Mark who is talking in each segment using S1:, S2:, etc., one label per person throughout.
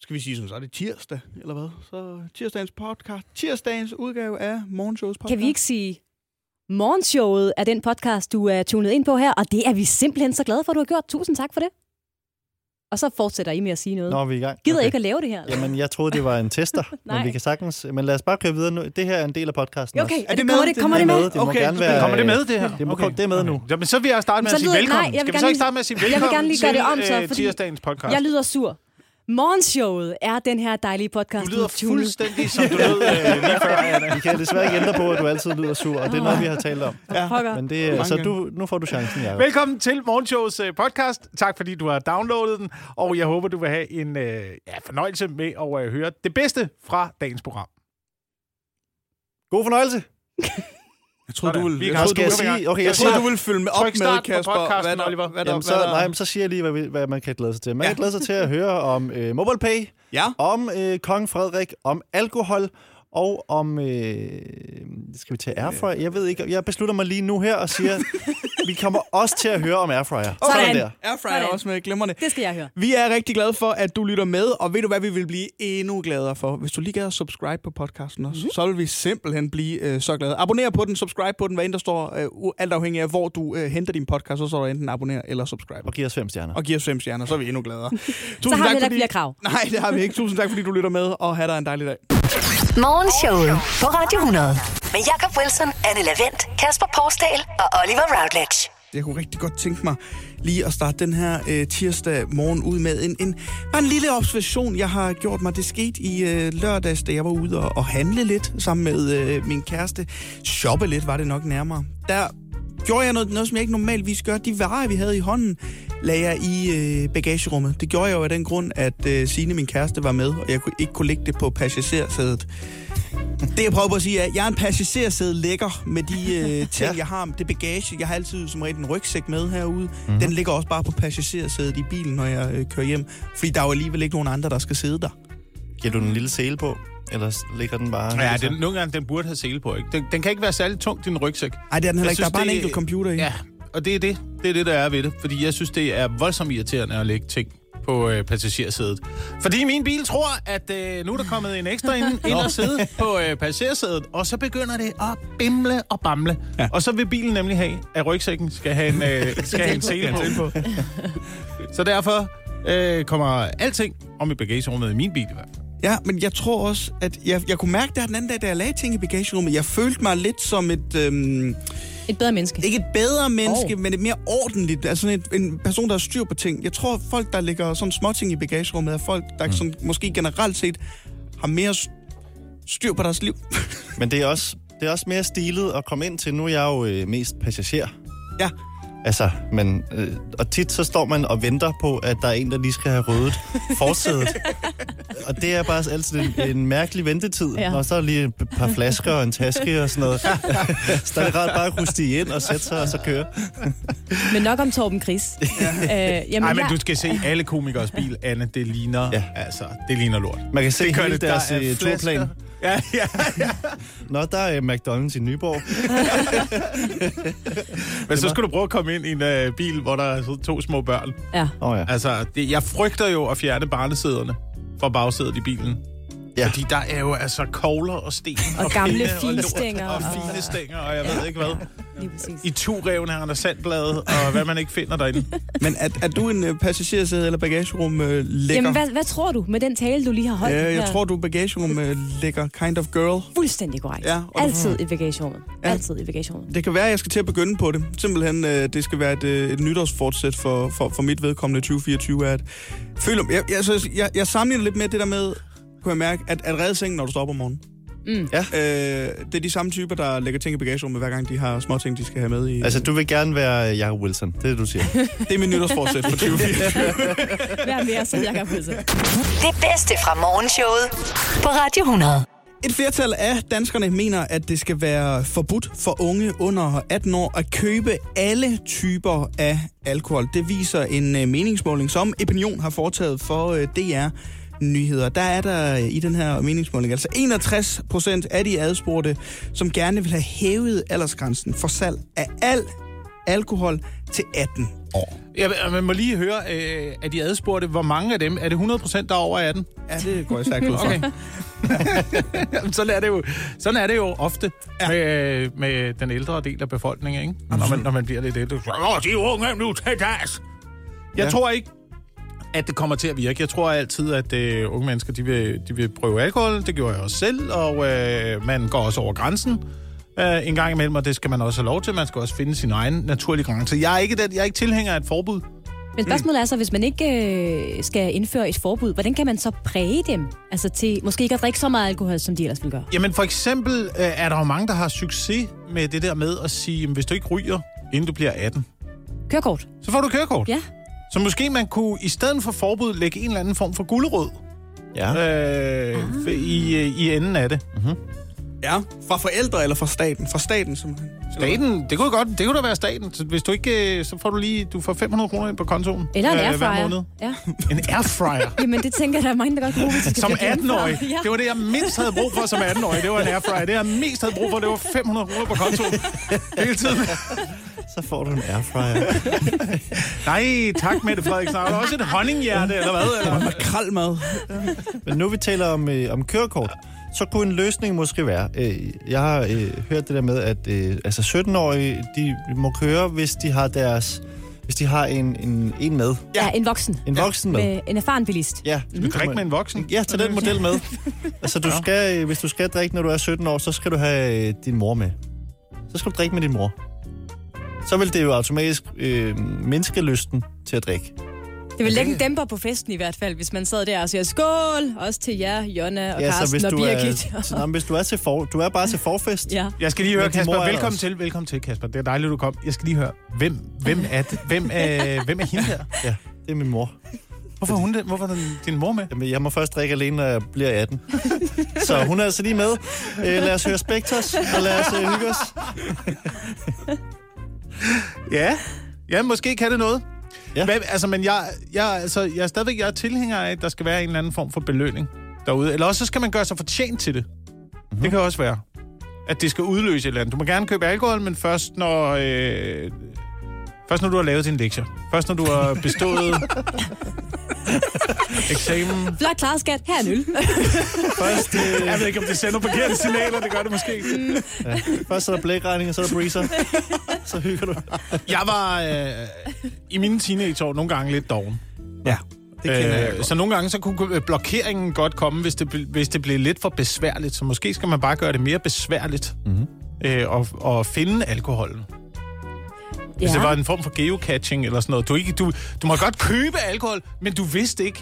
S1: skal vi sige, sådan, så er det tirsdag, eller hvad? Så tirsdagens podcast, tirsdagens udgave af Morgenshowets podcast.
S2: Kan vi ikke sige, Morgenshowet er den podcast, du er tunet ind på her, og det er vi simpelthen så glade for, at du har gjort. Tusind tak for det. Og så fortsætter I med at sige noget.
S3: Nå, er vi i gang.
S2: Gider okay. ikke at lave det her? Eller?
S3: Jamen, jeg troede, det var en tester,
S2: Nej.
S3: men vi kan sagtens... Men lad os bare køre videre nu. Det her er en del af podcasten
S2: Okay,
S3: også.
S2: er det, kommer det, kommer det med?
S3: Det må
S1: Okay,
S3: gerne være...
S4: Kommer det med, det her?
S3: Det må okay. det er med nu.
S4: Jamen, så vil jeg starte med
S2: Så
S4: at sige
S2: lyder- nej,
S4: velkommen.
S2: jeg vil
S4: Skal vi
S2: gerne
S4: så ikke
S2: lige-
S4: starte med at sige
S2: vil
S4: velkommen
S2: gerne lige gøre
S4: til
S2: det om, så,
S4: øh,
S2: fordi-
S4: tirsdagens podcast?
S2: Jeg lyder sur. Morgenshowet er den her dejlige podcast.
S4: du lyder
S2: er tunet.
S4: fuldstændig, som du lød øh, lige før, Anna.
S3: Vi kan desværre ikke ændre på, at du altid lyder sur, og det er noget, vi har
S2: Ah.
S3: talt om.
S1: Ja.
S2: Pokker.
S3: Men det, er-
S1: Mange
S3: så
S1: gange.
S3: du, nu får du chancen, Jacob.
S4: Velkommen til Morgenshowets øh, podcast. Tak fordi du har downloadet den, og jeg håber, du vil have en øh, ja, fornøjelse med at øh, høre det bedste fra dagens program.
S3: God fornøjelse.
S1: Jeg troede, du
S4: Sådan.
S1: ville,
S4: Vi er
S1: jeg
S4: i
S1: troede,
S4: gang.
S1: du,
S3: skal jeg
S4: Nu er
S3: sige- okay,
S4: vi i gang.
S3: jeg
S1: jeg troede,
S3: siger-
S1: du ville følge med op
S4: Tryk start
S1: med,
S4: på
S1: Kasper.
S4: podcasten,
S1: hvad der,
S4: Oliver.
S1: Hvad der,
S3: Jamen, så,
S1: hvad der,
S3: nej, men så siger jeg lige, hvad, vi- hvad man kan glæde sig til. Man kan
S1: Ja.
S3: glæde sig til at høre om øh, mobile pay,
S1: Ja,
S3: om øh, kong Frederik, om alkohol og om... Øh, skal vi tage airfryer? Jeg ved ikke. Jeg beslutter mig lige nu her og siger, vi kommer også til at høre om airfryer.
S2: Sådan.
S3: der.
S1: Airfryer er
S2: Sådan.
S1: også med, glimrende.
S2: Det skal jeg høre.
S1: Vi er rigtig glade for, at du lytter med, og ved du hvad, vi vil blive endnu gladere for? Hvis du lige gad at subscribe på podcasten også, mm. så vil vi simpelthen blive øh, så glade. Abonner på den, subscribe på den, hvad end der står, øh, u- alt afhængig af, hvor du øh, henter din podcast, så står der enten abonner eller subscribe.
S3: Og giver os fem stjerner.
S1: Og giv os fem stjerner, så er vi endnu gladere. Tusind
S2: Så har vi
S1: tak,
S2: heller ikke
S1: fordi-
S2: flere krav.
S1: Nej, det har vi ikke. Tusind tak, fordi du lytter med, og have dig en dejlig dag.
S5: Morgenshowet på Radio 100. Med Jakob Wilson, Anne Lavendt, Kasper Porsdal og Oliver Routledge.
S1: Jeg kunne rigtig godt tænke mig lige at starte den her øh, tirsdag morgen ud med en, en, bare en lille observation, jeg har gjort mig. Det skete i øh, lørdags, da jeg var ude og, og handle lidt sammen med øh, min kæreste. Shoppe lidt var det nok nærmere. Der gjorde jeg noget, noget, som jeg ikke normalvis gør. De varer, vi havde i hånden, lagde jeg i øh, bagagerummet. Det gjorde jeg jo af den grund, at øh, Signe, min kæreste, var med, og jeg kunne, ikke kunne lægge det på passagersædet. Det jeg prøver på at sige er, at jeg er en passagersæde lækker med de øh, ting, ja. jeg har. Det bagage, jeg har altid som regel en rygsæk med herude. Mm-hmm. Den ligger også bare på passagersædet i bilen, når jeg øh, kører hjem. Fordi der er jo alligevel ikke nogen andre, der skal sidde der.
S3: Giver du den en lille sele på? Ellers ligger den bare... ligesom?
S4: Ja, den, nogle gange, den burde have sele på, ikke? Den, den kan ikke være særlig tung, din rygsæk.
S1: Nej, det er den heller
S4: Jeg
S1: ikke. Der er
S4: synes,
S1: bare en
S4: det-
S1: enkelt computer i.
S4: Ja, og det er det. Det er det, der er ved det. Fordi jeg synes, det er voldsomt irriterende at lægge ting på øh, passagersædet. Fordi min bil tror, at øh, nu er der kommet en ekstra ind, ind og sidde på øh, passagersædet, og så begynder det at bimle og bamle. Ja. Og så vil bilen nemlig have, at rygsækken skal have en, øh, skal have en sele på. så derfor øh, kommer alting om i bagagerummet i min bil i hvert fald.
S1: Ja, men jeg tror også, at jeg, jeg kunne mærke det her den anden dag, da jeg lagde ting i bagagerummet. Jeg følte mig lidt som et, øhm,
S2: Et bedre menneske.
S1: ikke et bedre menneske,
S2: Åh.
S1: oh. men et mere ordentligt. Altså sådan et, en person, der har styr på ting. Jeg tror, folk, der lægger sådan småting i bagagerummet, er folk, der mm. sådan, måske generelt set har mere styr på deres liv.
S3: Men det er, også, det er også mere stilet at komme ind til. Nu er jeg jo øh, mest passager.
S1: Ja.
S3: Altså, men, øh, og tit så står man og venter på, at der er en, der lige skal have ryddet forsædet. og det er bare altid en, en mærkelig ventetid.
S2: Ja.
S3: Ja. Og så er der lige et par flasker og en taske og sådan noget. så er det rart bare at kunne stige ind og sætte sig og så køre.
S2: Men nok om Torben Chris. øh, jamen,
S4: Nej, men
S2: jeg-
S4: du skal se alle komikers bil, Anne. Det ligner, ja.
S3: Ja.
S4: altså, det ligner lort.
S3: Man kan se det hele
S4: det. Der
S3: deres
S4: er
S3: øh,
S4: flasker.
S3: turplan.
S4: Ja, ja.
S3: Nå, der er øh, McDonald's i Nyborg.
S4: Men så skulle du prøve at komme ind i en øh, bil, hvor der er sådan to små børn.
S2: Ja.
S3: Åh oh, ja.
S4: Altså, det, jeg frygter jo at fjerne barnesæderne fra bagsædet i bilen. Ja.
S3: Ja.
S4: Fordi der er jo altså kogler og sten.
S2: Og gamle
S4: pinde og lort
S2: finstænger
S4: Og, og
S2: og-
S4: fine stænger, og jeg ja. ved ikke hvad.
S2: Lige præcis.
S4: I turreven her, der sandblade, og hvad man ikke finder derinde.
S1: Men er, er du en øh, passagersæde eller bagagerum øh, lækker?
S2: Jamen, hvad, hvad tror du med den tale, du lige har holdt?
S1: øh, jeg
S2: her?
S1: tror, du er bagagerum øh, lækker kind of girl.
S2: Fuldstændig korrekt.
S1: Ja, og du-
S2: Altid i bagagerummet. Altid i bagagerummet.
S1: Det kan være, at jeg skal til at begynde på det. Simpelthen, øh, det skal være et, øh, et nytårsfortsæt for, for, for mit vedkommende 2024. Er at føler, jeg, jeg, jeg, jeg, jeg sammenligner lidt med det der med, kunne jeg mærke, at, at redde sengen, når du står op om morgenen.
S2: Mm.
S3: Ja.
S1: Øh, det er de samme typer, der lægger ting i bagagerummet, hver gang de har små ting, de skal have med i.
S3: Altså, du vil gerne være øh, Jacob Wilson. Det er det, du siger.
S1: Det er min nytårsfortsæt for 2024.
S2: Vær mere, som jeg kan pudse.
S5: Det bedste fra morgenshowet på Radio 100.
S1: Et flertal af danskerne mener, at det skal være forbudt for unge under 18 år at købe alle typer af alkohol. Det viser en øh, meningsmåling, som Opinion har foretaget for øh, DR nyheder. Der er der øh, i den her meningsmåling altså 61 procent af de adspurgte, som gerne vil have hævet aldersgrænsen for salg af al alkohol til 18 år.
S4: Jeg, vil- man må lige høre, øh, at de adspurgte, hvor mange af dem, er det 100% der er over 18?
S1: Ja, det går jeg stærkt ud fra.
S4: Okay. Jamen, sådan, er det jo, sådan er det jo ofte ja. med, øh, med den ældre del af befolkningen, ikke? Og Når man, når man bliver lidt ældre. Så, Åh, de unge nu til deres! Jeg ja. tror ikke, at det kommer til at virke. Jeg tror altid, at øh, unge mennesker, de vil, de vil prøve alkohol. Det gjorde jeg også selv, og øh, man går også over grænsen øh, en gang imellem, og det skal man også have lov til. Man skal også finde sin egen naturlige grænse. Jeg er ikke, den, jeg er ikke tilhænger af et forbud.
S2: Men spørgsmålet er så, hvis man ikke øh, skal indføre et forbud, hvordan kan man så præge dem? Altså til måske ikke at drikke så meget alkohol, som de ellers ville gøre.
S4: Jamen for eksempel øh, er der jo mange, der har succes med det der med at sige, "Jamen, hvis du ikke ryger, inden du bliver 18,
S2: Kørekort,
S4: så får du kørekort.
S2: ja.
S4: Så måske man kunne i stedet for forbud lægge en eller anden form for gulerod
S3: Ja.
S4: øh,
S2: Ah.
S4: i, øh, i enden af det.
S1: Ja, fra forældre eller fra staten? Fra staten, som...
S4: Staten, det kunne godt, det kunne da være staten. Så hvis du ikke, øh, så får du lige, du får 500 kroner ind på kontoen.
S2: Eller en
S4: øh, hver
S2: airfryer.
S4: måned.
S2: ja.
S4: En airfryer.
S2: Jamen, det tænker jeg, der er mange, der godt kunne bruge, hvis de skal
S4: Som
S2: flytte hjemmefra.
S4: 18-årig.
S2: Ja.
S4: Det var det, jeg mindst havde brug for som 18-årig. Det var en airfryer. Det, jeg mest havde brug for, det var 500 kroner på kontoen. Hele tiden.
S3: Så får du en airfryer.
S4: Nej, tak, Mette Frederiksen. Har du også et honninghjerte, eller hvad? Eller?
S1: Makrelmad.
S3: Men nu vi taler om, øh, om kørekort, så kunne en løsning måske være, øh, jeg har øh, hørt det der med, at øh, altså 17-årige, de må køre, hvis de har deres, hvis de har en, en, en med.
S2: Ja, en voksen.
S3: En voksen med.
S2: Med Mm. en erfaren bilist.
S3: Ja,
S4: Du kan ikke med en voksen.
S3: Ja, tag den model med. Altså, du skal, øh, hvis du skal drikke, når du er 17 år, så skal du have øh, din mor med. Så skal du drikke med din mor. Så vil det jo automatisk øh, mindske lysten til at drikke.
S2: Det vil lægge en dæmper på festen i hvert fald, hvis man sad der og siger, skål, også til jer, Jonna og ja, Karsten og Birgit.
S3: er, så, nej, men hvis du er til for, du er bare til forfest.
S2: ja.
S4: Jeg skal lige høre,
S3: Men din
S4: Kasper.
S3: mor er der
S4: Velkommen
S3: også.
S4: til, velkommen til, Kasper. Det er dejligt, du kom. Jeg skal lige høre, hvem, hvem, er, det? hvem, er, hvem er hende her?
S3: ja, det er min mor.
S4: Hvorfor er, hun, det? Hvorfor er den- din mor med?
S3: Jamen, jeg må først drikke alene, når jeg bliver 18. så hun er altså lige med. Øh, lad os høre Spectres, og lad os øh, hygge os.
S4: Ja, ja måske kan det noget. Ja.
S3: Ja.
S4: Hvad, altså, men jeg, jeg, altså, jeg er stadigvæk jeg er tilhænger af, at der skal være en eller anden form for belønning derude. Eller også så skal man gøre sig fortjent til det. Mm-hmm. Det kan også være, at det skal udløse et eller andet. Du må gerne købe alkohol, men først når, øh, først når du har lavet din lektier. Først når du har bestået eksamen.
S2: Flot klaret, skat. Her er en øl.
S3: Først, øh,
S4: Jeg ved ikke, om det sender forkerte signaler. Det gør det måske.
S3: først er der blækregning, og så er der breezer. Så hygger du.
S4: Jeg var øh, i mine teenageår nogle gange lidt doven.
S1: Ja, det kender jeg
S4: Øh,
S1: godt.
S4: så nogle gange så kunne øh, blokeringen godt komme, hvis det, bl- hvis det blev lidt for besværligt. Så måske skal man bare gøre det mere besværligt
S1: Mhm.
S4: mm-hmm. øh, og, og finde alkoholen. Ja. Hvis det var en form for geocaching eller sådan noget. Du, er ikke, du, du må godt købe alkohol, men du vidste ikke,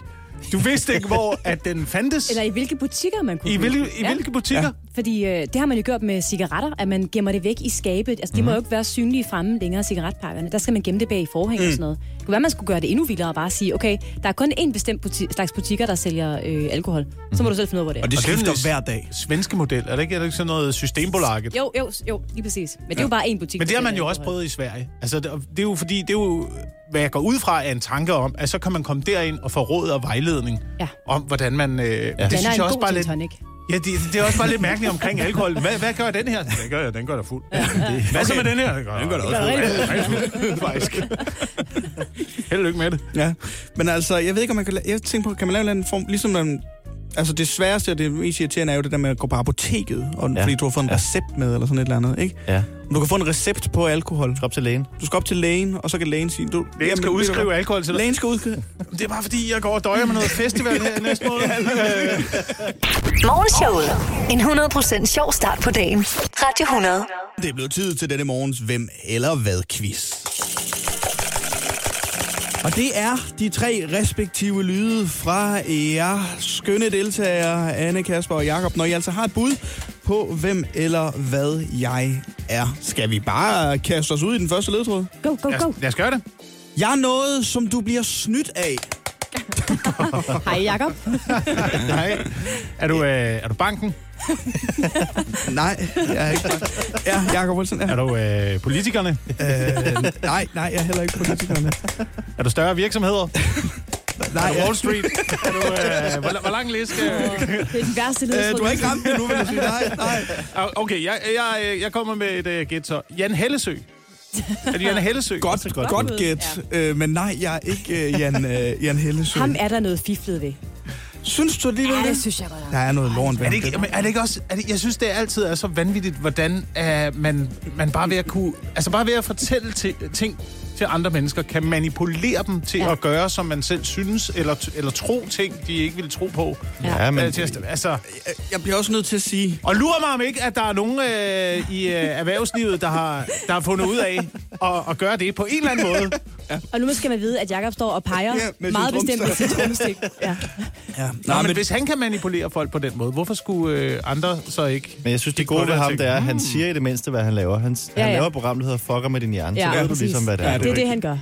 S4: du vidste ikke hvor at den fandtes.
S2: Eller i hvilke butikker man kunne
S4: I, hvilke,
S2: købe det.
S4: I hvilke butikker? Ja.
S2: Fordi øh, det har man jo gjort med cigaretter, at man gemmer det væk i skabet. Altså, de mm. må jo ikke være synlige fremme længere, cigaretpakkerne. Der skal man gemme det bag i forhæng mm. og sådan noget. Det kunne være, man skulle gøre det endnu vildere og bare sige, okay, der er kun én bestemt buti- slags butikker, der sælger øh, alkohol. Så må du selv finde ud af, hvor det er.
S1: Og det
S4: Og det er
S1: skifter
S4: lidt-
S1: hver dag.
S4: Svenske model. Er det ikke, er det ikke sådan noget systembolaget?
S2: Jo, jo, jo, lige præcis. Men det er jo bare én butik.
S4: Men
S2: der
S4: det har man
S2: sælger
S4: jo også
S2: alkohol.
S4: prøvet i Sverige. Altså, det det er jo fordi, det er jo, hvad jeg går ud fra, er en tanke om, at så kan man komme derind og få råd og vejledning
S2: Ja.
S4: om, hvordan man... Øh, ja.
S2: Den er en god gin tonic.
S4: Ja, det, det, er også bare lidt mærkeligt omkring alkohol. Hvad, hvad gør den her? Den gør, den gør der fuld. Ja. Hvad så med den her? Den gør, den gør der også fuld. Faktisk. Held og lykke med det.
S1: Ja, men altså, jeg ved ikke, om man kan... la- Jeg tænker på, kan man lave en eller anden form... Ligesom den, altså det sværeste og det mest irriterende er jo det der med at gå på apoteket, og, ja.
S3: Ja.
S1: fordi du har fået en
S3: Ja.
S1: recept med, eller sådan et eller andet, ikke?
S3: Ja.
S1: Du kan få en recept på alkohol.
S3: Drop til lægen.
S1: Du skal op til lægen, og så kan lægen sige... Du,
S4: Lægen skal
S1: ved du
S4: udskrive
S1: hvad?
S4: alkohol til dig.
S1: Lægen skal udskrive...
S4: Det er bare fordi, jeg går og døjer med noget festival her næste måned.
S5: Morgenshowet. En 100% sjov start på dagen. Radio 100.
S1: Det er blevet tid til denne morgens Hvem eller Hvad-quiz. Og det er de tre respektive lyde fra jer skønne deltagere, Anne, Kasper og Jakob, når I altså har et bud på, hvem eller hvad jeg er. Skal vi bare kaste os ud i den første ledtråd?
S2: Go, go, go.
S4: Lad os gøre det.
S1: Jeg er noget, som du bliver snydt af.
S2: Hej, Jacob.
S4: Nej. Er du, øh, er du banken?
S1: Nej, jeg er ikke. Ja, Jakob Wilson. Ja.
S4: Er du øh, politikerne?
S1: Øh, nej, nej, jeg er heller ikke politikerne.
S4: Er du større virksomheder?
S1: Nej,
S4: Er du Wall Street? Er du, øh, hvor, hvor lang liste?
S2: Det er den værste
S1: øh,
S2: ledtråd.
S1: du har ikke ramt det nu, vil jeg sige. Nej, nej.
S4: øh, Ah, Okay, jeg, jeg, jeg kommer med et uh, gæt så. Jan Hellesø. Er det Jan Hellesø?
S3: så
S1: Godt,
S3: godt
S1: godt, Altså, godt
S2: ud.
S1: gæt, øh, men nej, jeg er ikke øh, Jan, øh, Jan Hellesø.
S2: Ham er der noget fiflet ved.
S1: Synes du alligevel
S2: Ja, det
S1: det?
S2: synes jeg godt.
S1: Der er noget lort ved
S4: Er det
S1: ham.
S4: ikke, men er det ikke også... Er det, jeg synes, det altid er så vanvittigt, hvordan uh, man, man bare ved at kunne... Altså bare ved at fortælle til, ting til andre mennesker, kan manipulere dem til
S2: Ja.
S4: ja. at gøre, som man selv synes, eller, t- eller tro ting, de ikke ville tro på.
S2: Ja.
S3: Ja, men
S4: Men, til at, altså,
S1: Jeg bliver også nødt til at sige,
S4: og lurer mig om ikke, at der er nogen øh, i øh, erhvervslivet, der har, der har fundet ud af at, at gøre det på en eller anden måde.
S2: Og nu skal man vide, at Jakob står og
S1: Ja,
S2: peger
S1: med
S2: ja,
S1: sin
S2: meget bestemt med
S1: trumstik.
S2: sit trumstik. Ja.
S1: ja,
S4: Nå,
S1: nej,
S4: men,
S1: men,
S4: hvis han kan manipulere folk på den måde, hvorfor skulle øh, andre så ikke?
S3: Men jeg synes, det
S4: Kig på
S3: gode ved
S4: og
S3: ham,
S4: tænke,
S3: det er,
S1: Mm.
S3: at han siger i det mindste, hvad han laver. Han, ja,
S2: Ja,
S3: han
S2: ja.
S3: laver et program, der hedder Fucker med din hjerne.
S2: Ja,
S3: så ved du
S2: præcis.
S3: ligesom, hvad det er.
S1: Ja,
S2: Det er det, han gør.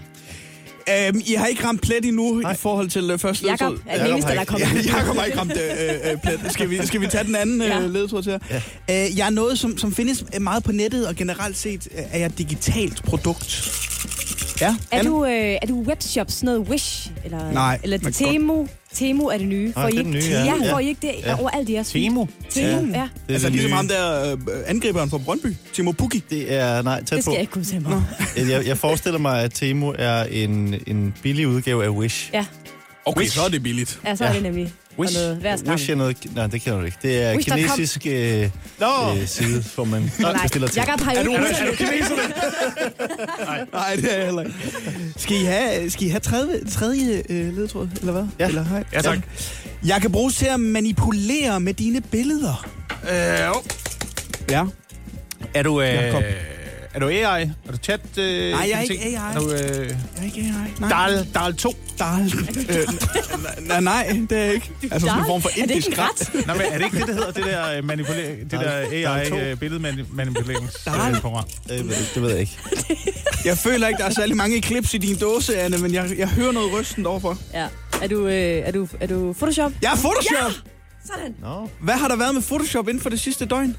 S1: øhm, I har ikke ramt plet endnu i forhold til øh, første
S2: Jakob
S1: ledtråd.
S2: er den
S3: Jakob
S2: eneste,
S3: har
S2: der er
S3: ikke-
S2: kommet.
S1: Ja, Jakob har ikke ramt øh, øh, plet. Skal vi, skal vi tage den anden
S2: Ja.
S1: øh, ledtråd til her? Øh, jeg er noget, som, som findes øh, meget på nettet, og generelt set øh, er jeg et digitalt produkt. Ja,
S2: Er
S1: Anne?
S2: du, øh, er du webshop, sådan noget Wish? Eller,
S1: Nej,
S2: Eller
S1: men
S2: Temu? Temu er det nye. Får
S3: Nej,
S2: I
S3: det er
S2: ikke,
S3: den nye, ja.
S2: ja,
S3: Ja.
S2: får I ikke det ja.
S3: Ja.
S2: overalt i jeres feed?
S4: Temu?
S2: Temu, ja.
S3: Det er
S1: Altså
S3: det
S1: ligesom
S3: nye.
S1: ham der øh, angriberen fra Brøndby, Timo Pukki.
S3: Det er, nej, tæt
S2: Det
S3: på.
S2: skal jeg ikke kunne tage mig.
S3: Jeg, jeg forestiller mig, at Temu er en, en billig udgave af Wish.
S2: Ja,
S1: Okay, så er det billigt.
S2: ja så er det nemlig. og
S3: Wish,
S2: Noget, hver skam.
S3: Wish er noget... Nej, det kender du ikke. Det er en
S2: Wish.com.
S3: kinesisk øh,
S4: Nå!
S3: øh, side, hvor man bestiller
S2: Nej,
S3: ting.
S2: Jakob har jo ikke internet.
S1: Nej, det er jeg heller ikke. Skal I have, skal I have tredje, tredje øh, ledtråd, eller hvad?
S3: Ja.
S1: Eller, hej.
S4: Ja, tak.
S1: Jeg kan bruges til at manipulere med dine billeder.
S4: Øh, jo.
S1: Ja.
S4: er du... Øh,
S1: Jakob.
S4: er du AI? Er du chat? Øh,
S1: Nej, jeg er ikke
S4: ting?
S1: AI.
S4: Er du, øh,
S1: Jeg er ikke AI. Nej.
S4: Dal, Dal 2?
S1: Dal. Øh, nej, nej, det er jeg ikke. Altså sådan en form for
S2: Er det
S1: indisk
S2: ikke en
S1: ret.
S2: ret?
S4: Nå, men er det ikke det, der hedder det der, øh, manipulering, det der øh,
S3: Dal 2.
S1: Dal.
S4: AI-billedmanipuleringsprogram?
S3: Øh, ved det- det ved jeg ikke.
S1: Jeg føler ikke, der er særlig mange klips i din dåse, Anne, men jeg, jeg hører noget rysten overfor.
S2: Ja. Er du, øh, er, du, er du Photoshop?
S1: Jeg er Photoshop! Ja!
S2: Sådan.
S3: Nå.
S1: Hvad har der været med Photoshop inden for det sidste døgn?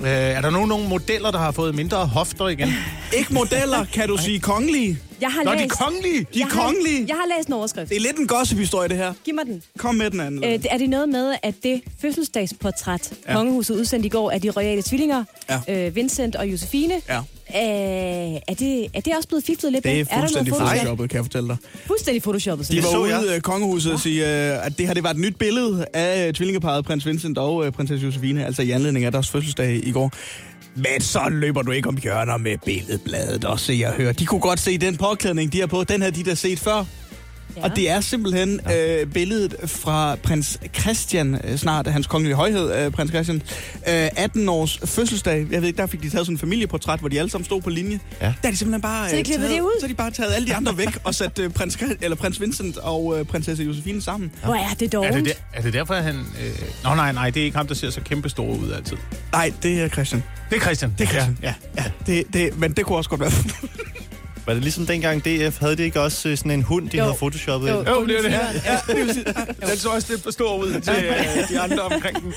S4: Øh, er der nogen, nogen modeller, der har fået mindre hofter igen?
S1: Ikke modeller, kan du sige kongelige.
S2: Jeg har
S4: Nå, de
S2: læst...
S4: er kongelige!
S1: De
S2: jeg
S1: er kongelige.
S2: Har, jeg har læst en overskrift.
S1: Det er lidt en gossip-historie, det her.
S2: Giv mig den.
S1: Kom med den anden.
S2: Øh, det- er det noget med, at det fødselsdagsportræt, ja. kongehuset udsendte i går af de royale tvillinger,
S1: Ja.
S2: ja. øh, Vincent og Josefine,
S1: Ja.
S2: øh, er, det, er det også blevet fiflet lidt? med?
S1: Det er
S2: der noget
S1: fuldstændig
S2: Photoshop?
S1: photoshoppet, kan jeg fortælle dig.
S2: Fuldstændig photoshoppet.
S1: De
S2: simpelthen.
S1: var
S3: så
S1: ude
S3: jeg.
S1: i kongehuset og sige, øh, at det her det var et nyt billede af øh, tvillingeparet prins Vincent og øh, prinsesse Josefine, altså i anledning af deres fødselsdag i går. Men så løber du ikke om hjørner med billedbladet og se og høre. De kunne godt se den påklædning, de har på. Den her de der set før.
S2: Ja.
S1: Og det er simpelthen øh, billedet fra prins Christian, øh, snart hans kongelige højhed, øh, prins Christian, øh, 18 års fødselsdag. Jeg ved ikke, der fik de taget sådan en familieportræt, hvor de alle sammen stod på linje.
S3: Ja.
S1: Der er de simpelthen bare, øh,
S2: Så de klippede
S1: taget,
S2: det ud?
S1: så har de bare taget alle de andre væk og sat øh, prins, Chris- eller prins Vincent og øh, prinsesse Josefine sammen.
S2: Hvor er det
S4: Er det,
S2: dårligt?
S4: der, er det derfor, at han... Øh... Nå, nej, nej, det er ikke ham, der ser så kæmpe store ud altid.
S1: Nej, det er Christian.
S4: Det er Christian.
S1: Det er Christian. Ja, ja. Det, det, men det kunne også godt være.
S3: Var det ligesom dengang DF, havde de ikke også øh, sådan en hund, de
S2: Jo.
S3: havde photoshoppet? Ah,
S2: Jo.
S3: ind?
S4: Jo, det er det.
S2: Ja,
S4: Ja, Den så også lidt stor ud til øh, de andre omkring den.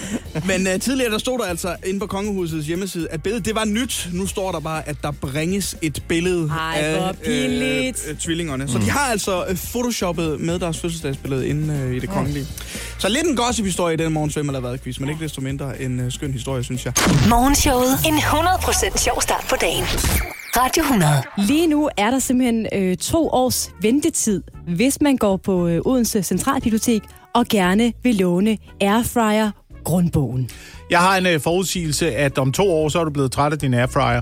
S1: men øh, tidligere der stod der altså inde på kongehusets hjemmeside, at billedet det var nyt. Nu står der bare, at der bringes et billede
S2: Ej, hvor
S1: af
S2: pinligt.
S1: øh, tvillingerne. Så de har altså øh, photoshoppet med deres fødselsdagsbillede inde øh, i det kongelige. Så lidt en gossip-historie i den morgens Hvem eller hvad quiz, men ikke desto mindre en øh, skøn historie, synes jeg.
S5: Morgenshowet. En 100% sjov start på dagen. Radio 100.
S2: Lige nu er der simpelthen øh, to års ventetid, hvis man går på øh, Odense Centralbibliotek og gerne vil låne Airfryer Grundbogen.
S4: Jeg har en øh, forudsigelse, at om to år, så er du blevet træt af din airfryer.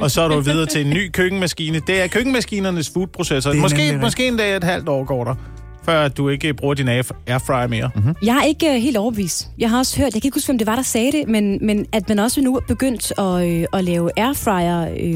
S4: og så er du videre til en ny køkkenmaskine. Det er køkkenmaskinernes foodprocessor.
S1: Det er nemlig
S4: Måske,
S1: rigtigt.
S4: måske en dag et halvt år går der, før du ikke bruger din air- airfryer mere. Mm-hmm.
S2: Jeg er ikke øh, helt overbevist. Jeg har også hørt, jeg kan ikke huske, hvem det var, der sagde det, men, men at man også nu er begyndt at, øh, at lave airfryer, øh,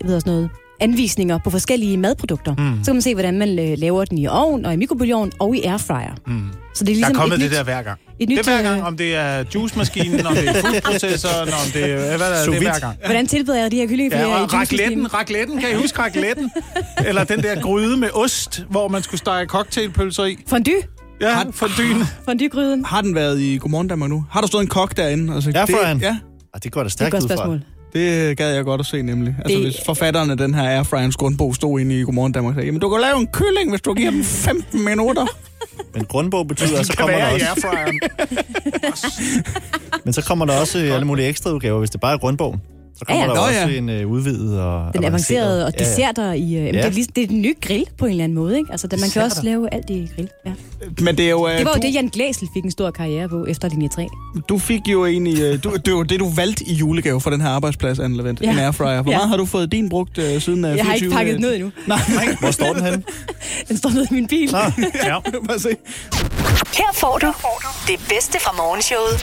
S2: jeg ved også noget, anvisninger på forskellige madprodukter. Mm. Så kan man se, hvordan man øh, laver den i ovn og i mikrobølgeovn og i airfryer. Mm. Så det er
S4: Der
S2: ligesom
S4: er kommet
S2: et
S4: det
S2: nyt,
S4: der hver gang.
S2: et
S4: Det
S2: nyt,
S4: er hver gang,
S2: øh,
S4: om det er juicemaskinen, om det er foodprocessoren, om det er... Hvad er det,
S3: Sous
S4: det er hver
S3: vide.
S4: gang?
S2: Hvordan tilbereder jeg de her kyllingefiléer
S4: Ja,
S2: i
S4: og
S2: juicemaskinen?
S4: racletten, racletten, kan I huske racletten? Eller den der gryde med ost, hvor man skulle stege cocktailpølser i.
S2: Fondue?
S4: Ja, fondyen.
S2: Fondue-gryden?
S1: Har den været i Godmorgen Danmark nu? Har der stået en kok derinde? Og sagt,
S3: Ja, Frøen.
S1: det, ja,
S3: Ah, det går
S2: Det er
S3: da
S2: et
S3: stærkt
S2: godt
S3: ud fra.
S2: spørgsmål.
S1: det gad jeg godt at se nemlig. Altså
S2: Det-
S1: det... hvis forfatteren af den her Airfryers grundbog stod inde i Godmorgen Danmark, sagde, jamen du kan lave en kylling, hvis du giver den 15 minutter.
S3: Men grundbog betyder, at så
S4: Det kan
S3: kommer der
S4: være i øhm,
S3: også,
S4: airfryeren.
S3: men så kommer der også øh, alle mulige ekstra udgaver, hvis det bare er grundbogen. Der kommer
S2: Ja, ja.
S3: der jo
S1: Nå, ja.
S3: også en øh, udvidet og
S2: Den avancerede og
S3: Ja, ja.
S2: desserter i... Øh, ja. det, er lige, det er den nye grill på en eller anden måde, ikke? Altså, den, man kan også lave alt i grill. Ja.
S1: Men det er jo... øh,
S2: Det var jo
S1: du,
S2: det, Jan Glæsel fik en stor karriere på efter linje 3.
S1: Du fik jo egentlig... øh, Du, det var det, du valgte i julegave for den her arbejdsplads, Anne Lavendt. Ja.
S2: Ja.
S1: En airfryer. Hvor
S2: Ja.
S1: meget har du fået din brugt øh, siden øh,
S2: Jeg har ikke
S1: 24,
S2: pakket
S1: øh,
S2: den ud endnu.
S1: Nej,
S3: Hvor står den henne?
S2: Den står nede i min bil.
S3: Ah,
S4: Ja.
S1: Bare se.
S5: Her får du det bedste fra morgenshowet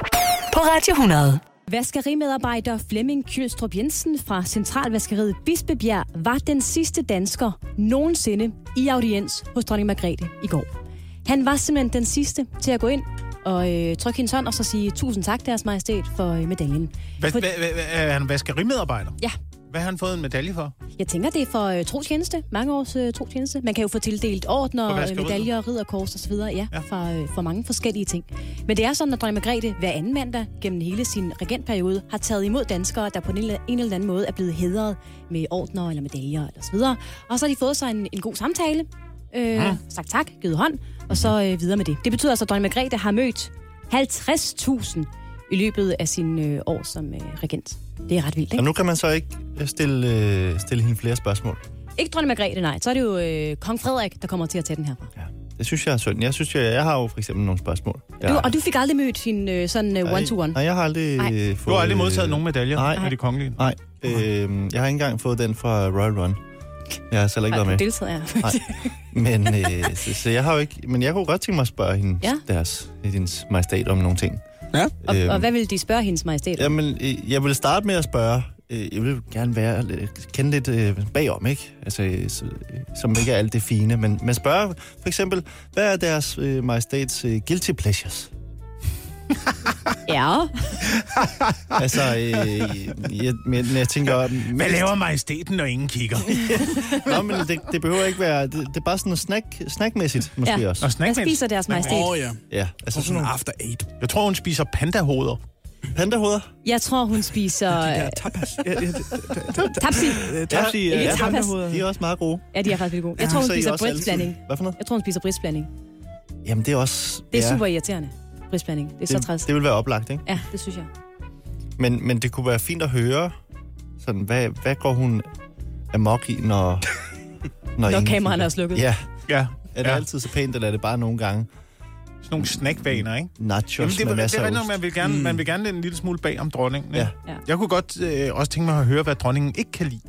S5: på Radio 100.
S2: Vaskerimedarbejder Flemming Kjølstrup Jensen fra Centralvaskeriet Bispebjerg var den sidste dansker nogensinde i audiens hos dronning Margrethe i går. Han var simpelthen den sidste til at gå ind og øh, trykke hendes hånd og så sige tusind tak, deres majestæt, for øh, medaljen.
S4: Hvad,
S2: For-
S4: hvad, hvad, hvad, er han vaskerimedarbejder?
S2: Ja,
S4: Hvad har han fået en medalje for?
S2: jeg tænker, det er for øh, trotjeneste, mange års øh, trotjeneste. Man kan jo få tildelt
S4: For
S2: ordner, øh,
S4: vaskeriet.
S2: medaljer, ridderkors osv. Ja,
S4: Ja.
S2: ja. Fra, øh, fra mange forskellige ting. Men det er sådan, at dronning Margrethe hver anden mandag gennem hele sin regentperiode har taget imod danskere, der på en eller en eller anden måde er blevet hedret med ordner eller medaljer eller så videre. Og så har de fået sig en, en god samtale, øh, ja. sagt tak, givet hånd, og så øh, videre med det. Det betyder altså, at dronning Margrethe har mødt 50.000 i løbet af sin øh, år som øh, regent. Det er ret vildt, ikke?
S3: og nu kan man så ikke øh, stille, øh, stille hende flere spørgsmål.
S2: Ikke dronning Margrethe, nej. Så er det jo øh, kong Frederik, der kommer til at tage den herfra.
S3: Ja. Det synes jeg er synd. Jeg synes, jeg, jeg har jo for eksempel nogle spørgsmål. Jeg,
S2: Du, og du fik aldrig mødt sin øh, sådan øh, one-to-one.
S3: Nej, jeg har aldrig
S2: Nej.
S3: øh, fået...
S4: Du har aldrig
S3: øh,
S4: modtaget nogen medaljer
S3: nej.
S4: af de kongelige.
S3: Nej, øh, jeg har ikke engang fået den fra Royal Run. Jeg har selv ikke været
S2: Nej,
S3: med.
S2: du deltager. Ja.
S3: Nej. Men, øh, så, så jeg har jo ikke... Men jeg kunne godt tænke mig at spørge hende, ja.
S2: Ja.
S3: deres, hendes majestæt om nogle ting.
S1: Ja.
S2: Og,
S3: Øhm.
S2: og hvad ville de spørge hendes majestæt? om?
S3: Jamen, øh, jeg vil starte med at spørge. øh, Jeg vil gerne være, kende lidt øh, bagom, ikke? Altså, øh, så- øh, som ikke er alt det fine. Men, men spørge for eksempel, hvad er deres øh, majestats øh, guilty pleasures?
S2: Ja.
S3: Altså, øh, jeg, men jeg tænker...
S4: Hvad laver majestæten, når ingen kigger?
S3: Nå, men det, det behøver ikke være... Det, det er bare sådan noget snack, snackmæssigt, måske ja.
S2: Ja.
S4: Og
S3: også.
S2: Hvad
S4: snackmænd.
S2: spiser deres majestæt?
S1: Åh, ja.
S3: Ja, altså sådan nogle
S1: after eight.
S4: Jeg tror, hun spiser pandahoder.
S3: pandahoveder.
S2: Jeg tror, hun spiser øh,
S1: Ja, tapas. Ja, ja,
S2: tapsi.
S1: tapsi.
S2: ikke
S1: Ja,
S2: tapas.
S3: De er også meget gode.
S2: Ja, de er faktisk vildt gode. Jeg tror,
S3: Så
S2: hun
S3: er I
S2: spiser
S3: også altid-
S2: bristblanding.
S3: Hvad for noget?
S2: Jeg tror, hun spiser bristblanding.
S3: Jamen, det er også...
S2: Det er
S3: ja,
S2: super irriterende. Bristblanding. Det er så træls.
S3: det, det vil være oplagt, ikke?
S2: Ja, det synes jeg.
S3: Men, men det kunne være fint at høre, sådan, hvad, hvad går hun amok i, når... Når, ingen-
S2: kameraerne er slukket.
S3: Ja.
S4: Ja.
S3: Er det ja. altid så pænt, eller er det bare nogle gange
S4: Sådan nogle snackvaner, ikke?
S3: nachos
S4: Jamen, det,
S3: med
S4: det, det
S3: masser
S4: er
S3: af
S4: rigtigt, nok,
S3: ost?
S4: man vil gerne, mm. man vil gerne lidt en lille smule bag om dronningen.
S3: Ja.
S4: Ja.
S2: Ja.
S4: Jeg kunne godt øh, også tænke mig at høre, hvad dronningen ikke kan lide.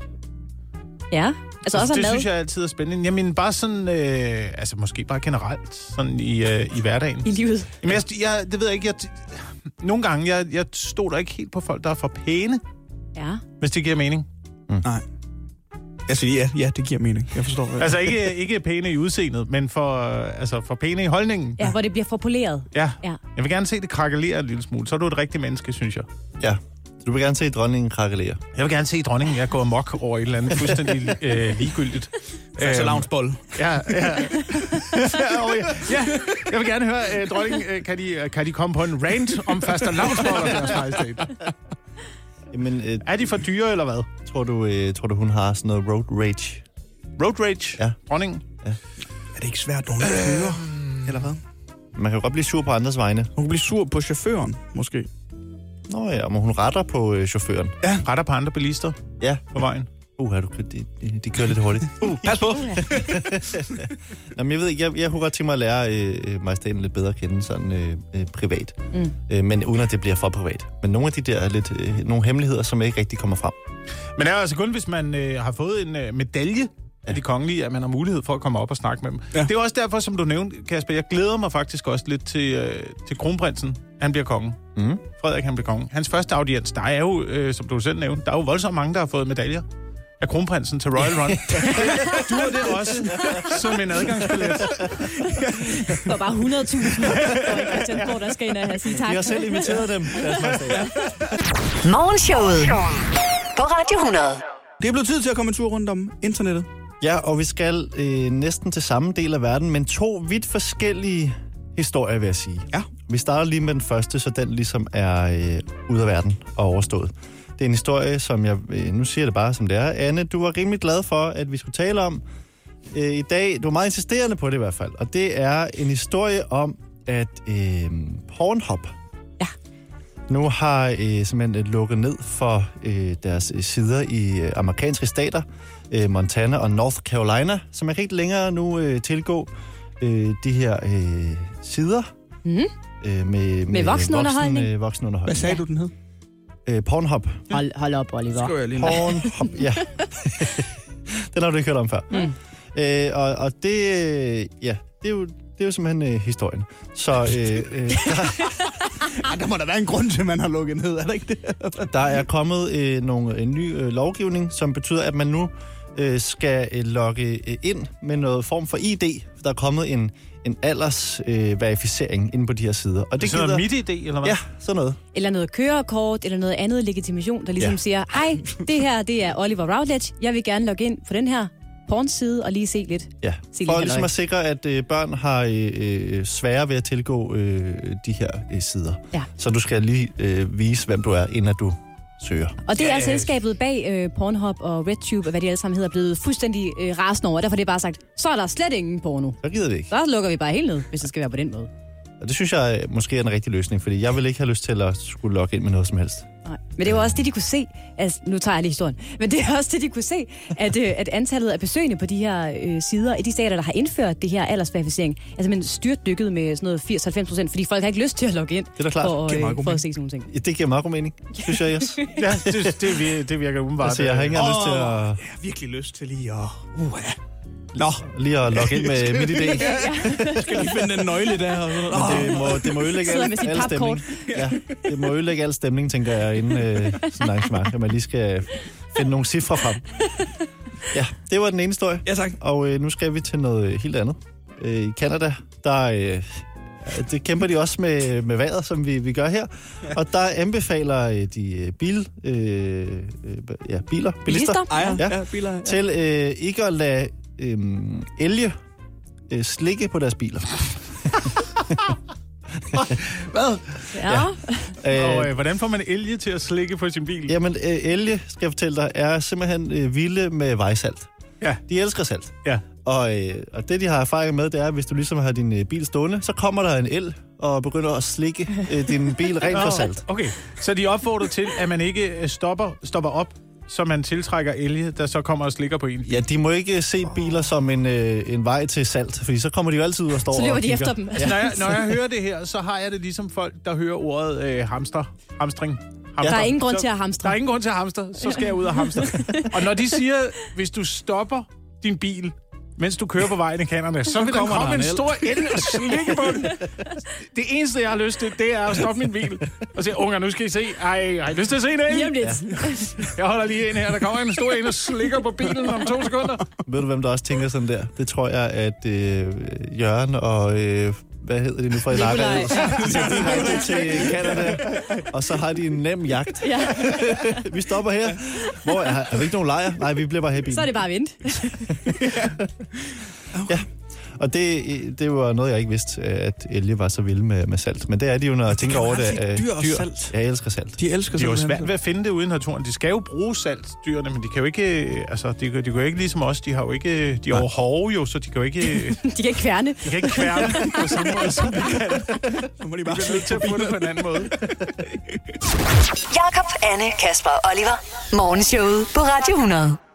S2: Ja. Altså også
S4: det
S2: at
S4: synes
S2: lave
S4: jeg altid er spændende. Jamen bare sådan, øh, altså måske bare generelt, sådan i, øh, i hverdagen.
S2: i livet.
S4: Jamen jeg, jeg, det ved jeg ikke, jeg, nogle gange, jeg, jeg stoler ikke helt på folk, der er for pæne,
S2: Ja.
S4: hvis det giver mening.
S1: Nej. Altså, ja, ja, det giver mening. Jeg forstår. øh,
S4: Altså ikke, ikke pæne i udseendet, men for, øh, altså for pæne i holdningen.
S2: Ja, hvor det bliver for poleret.
S4: Ja.
S2: Ja.
S4: Jeg vil gerne se det krakkelere en lille smule. Så er du et rigtigt menneske, synes jeg.
S3: Ja. Så du vil gerne se dronningen krakkelere.
S4: Jeg vil gerne se dronningen. Jeg går amok over et eller andet fuldstændig øh, ligegyldigt.
S1: altså
S4: Øhm,
S1: loungebold.
S4: Ja, ja. Og ja, ja. Jeg vil gerne høre, øh, dronningen, øh, kan, de, øh, kan de komme på en rant om faste lavsboller deres majestæt?
S3: Jamen, øh,
S4: Er de for dyre, eller hvad?
S3: tror, du, øh, tror du, hun har sådan noget road rage?
S4: Road rage,
S3: Ja.
S4: dronningen.
S1: Er det ikke svært, nogen kører? Eller hvad?
S3: Man kan jo godt blive sur på andres vegne.
S1: Øh. Hun kan blive sur på chaufføren, måske.
S3: Nå ja, men hun retter på øh, chaufføren.
S4: Retter på andre bilister
S3: Ja.
S4: på vejen.
S3: Uh, du, kø- de, de, de kører lidt hurtigt. Uh.
S1: Pas på.
S3: Nå, men jeg ved ikke, jeg, jeg kunne godt tænke mig at lære øh, øh, majestæten lidt bedre at kende sådan øh, øh, privat. Mm. Øh, men uden at det bliver for privat. Men nogle af de der lidt, øh, nogle hemmeligheder, som ikke rigtig kommer frem.
S4: Men det er altså kun, hvis man øh, har fået en øh, medalje af de kongelige, at man har mulighed for at komme op og snakke med dem. Ja.
S1: Ja.
S4: Det er jo også derfor, som du nævnte, Kasper, jeg glæder mig faktisk også lidt til, øh, til kronprinsen. Han bliver konge.
S3: Mm.
S4: Frederik, han bliver konge. Hans første audiens, der er jo, øh, som du selv nævnte, der er jo voldsomt mange, der har fået medaljer af kronprinsen til Royal Run. du er det også som en adgangsbillet.
S2: For bare 100.000. for en Christiansborg, der skal ind og have sige tak.
S3: Vi har selv inviteret dem.
S5: Morgenshowet på Radio 100.
S1: Det er blevet tid til at komme en tur rundt om internettet.
S3: ja, og vi skal øh, næsten til samme del af verden, men to vidt forskellige historier, vil jeg sige.
S1: Ja.
S3: Vi starter lige med den første, så den ligesom er øh, ude af verden og overstået. Det er en historie, som jeg... Øh, nu siger jeg det bare, som det er. Anne, du var rimelig glad for, at vi skulle tale om øh, i dag. Du var meget insisterende på det i hvert fald. Og det er en historie om, at øh, Pornhub,
S2: Ja.
S3: nu har øh, simpelthen øh, lukket ned for øh, deres øh, sider i øh, amerikanske stater, øh, Montana og North Carolina, så man kan ikke længere nu øh, tilgå øh, de her øh, sider
S2: Mm.
S3: øh, med,
S2: Med voksenunderholdning.
S3: Voksen, øh,
S1: Hvad
S3: voksenunderholdning.
S1: sagde du, den hed?
S3: Øh, Pornhub.
S6: Hold, hold op, Oliver.
S1: Skriver jeg lige ned.
S3: Pornhub, ja. Den har du ikke hørt om før.
S2: Mm.
S3: Øh, og, og det, øh, ja, det er jo, det er jo simpelthen øh, historien. Så øh, øh,
S1: Ej, Ah, der må da være en grund til, at man har lukket ned, er der ikke det?
S3: Der er kommet øh, nogle, en ny øh, lovgivning, som betyder, at man nu øh, skal øh, logge øh, ind med noget form for ID. For der er kommet en, en aldersverificering øh, verificering inde på de her sider. Og
S4: Det er
S3: det
S4: sådan
S3: gider-
S4: noget midt idé, eller hvad?
S3: Ja, sådan noget.
S2: Eller noget kørekort, eller noget andet legitimation, der ligesom
S3: Ja.
S2: ja. siger, hej, det her det er Oliver Routledge, jeg vil gerne logge ind på den her pornside og lige se lidt.
S3: Ja.
S2: Sig lige
S3: For ligesom
S2: halløj.
S3: at sikre, at øh, børn har øh, øh, sværere ved at tilgå øh, de her øh, sider.
S2: Ja.
S3: Så du skal lige øh, vise, hvem du er, inden at du søger.
S2: Og det er altså
S4: Ja.
S2: selskabet bag øh, Pornhub og RedTube, og hvad de alle sammen hedder, blevet fuldstændig øh, rasende over. Derfor er det bare sagt, så er der slet ingen porno.
S3: Så gider det ikke.
S2: Så lukker vi bare helt ned, hvis det skal være på den måde.
S3: Og det synes jeg øh, måske er den rigtige løsning, fordi jeg vil ikke have lyst til at skulle logge ind med noget som helst.
S2: Nej. Men det var også det, de kunne se. Altså, nu tager jeg lige historien. Men det er også det, de kunne se, at, øh, at antallet af besøgende på de her øh, sider, i de stater, der har indført det her aldersverificering, er simpelthen styrtdykket med sådan noget 80-90 procent, fordi folk har ikke lyst til at logge ind
S3: Det er da klart.
S2: for, øh,
S1: Det er meget god
S2: for at
S1: mening.
S2: se sådan nogle ting.
S3: Ja, det giver meget god mening, synes jeg, yes.
S4: ja det, det, vir- det virker umiddelbart. øh.
S3: Altså, jeg har ikke engang lyst til at,
S1: Jeg har virkelig lyst til lige at... Uh, Nå,
S3: lige at logge ind med mit idé.
S1: jeg skal lige finde den nøgle der. Og sådan noget.
S3: Men det må, det må ødelægge
S2: Sidder
S3: al,
S2: med sit
S3: al
S2: papkort.
S3: stemning. Ja, det må ødelægge al stemning, tænker jeg, inden øh, sådan en arrangement, at man lige skal finde nogle cifre frem. Ja, det var den ene historie.
S1: Ja, tak.
S3: Og øh, nu skal vi til noget helt andet. Øh, I Canada, der øh, det kæmper de også med, med vejret, som vi, vi gør her. Og der anbefaler øh, de øh, bil, øh, øh, ja, biler, bilister,
S2: Bilister?
S1: Ejer,
S3: Ja.
S1: ja, ja biler. Ja.
S3: til øh, ikke at lade øh, elge øh, slikke på deres biler.
S4: Hvad?
S2: Ja. ja.
S4: Og
S3: Øh,
S4: øh, hvordan får man elge til at slikke på sin bil?
S3: jamen, øh, elge, skal jeg fortælle dig, er simpelthen øh, vilde med vejsalt.
S4: Ja.
S3: De elsker salt.
S4: Ja.
S3: Og, øh, og det, de har erfaring med, det er, at hvis du ligesom har din øh, bil stående, så kommer der en el og begynder at slikke øh, din bil rent for salt.
S4: Okay, så de opfordrer til, at man ikke øh, stopper, stopper op, så man tiltrækker elge, der så kommer og slikker på en.
S3: Ja, de må ikke se biler som en, øh, en vej til salt, fordi så kommer de jo altid ud og står
S2: Så løber
S3: og
S2: de
S3: kigger.
S2: efter dem.
S4: Når jeg, når jeg hører det her, så har jeg det ligesom folk, der hører ordet øh, hamster. Hamstring. Hamster.
S2: Der er ingen grund
S4: så,
S2: til at
S4: Der er
S2: hamstre.
S4: ingen grund til at hamster, så skal jeg ud og hamster. og når de siger, hvis du stopper din bil, mens du kører på vejen i Canada, så vil der
S1: kommer der
S4: komme
S1: en
S4: en
S1: el.
S4: stor el og slikke på den. Det eneste, jeg har lyst til, det er at stoppe min bil. Og sige, unger, nu skal I se. Ej, har I lyst til at se en
S2: Lige om
S4: el?
S2: lidt.
S4: Jeg holder lige ind her. Der kommer en stor en og slikker på bilen om to sekunder.
S3: Ved du, hvem der også tænker sådan der? Det tror jeg, at øh, Jørgen og... Øh, hvad hedder det nu fra Ilaga?
S2: Nikolaj.
S3: De tager direkte til Canada, og så har de en nem jagt.
S2: Ja.
S3: Vi stopper her. Hvor er, er vi ikke nogen lejr? Nej, vi bliver bare her i bilen.
S2: Så er det bare at vente.
S3: Og det, det var noget, jeg ikke vidste, at elge var så vilde med, med salt. Men det er de jo, når jeg tænker
S1: kan
S3: over
S1: man
S3: det.
S1: aldrig sige,
S3: øh,
S1: dyr og salt.
S3: Ja, jeg elsker salt.
S1: De elsker
S4: Det er jo
S1: simpelthen
S4: svært ved at finde det ude i naturen. De skal jo bruge salt, dyrene, men de kan jo ikke... øh, Altså, de, kan- de kan jo ikke ligesom os. De har jo ikke... De er jo hårde jo, så de kan jo ikke... øh,
S2: De kan ikke kværne.
S4: De kan ikke kværne på samme måde, som vi kan.
S1: Så må de
S4: Vi
S1: bare
S4: bliver nødt til at få det på en anden måde.
S5: Jakob, Anne, Kasper og Oliver. Morgenshowet på Radio 100.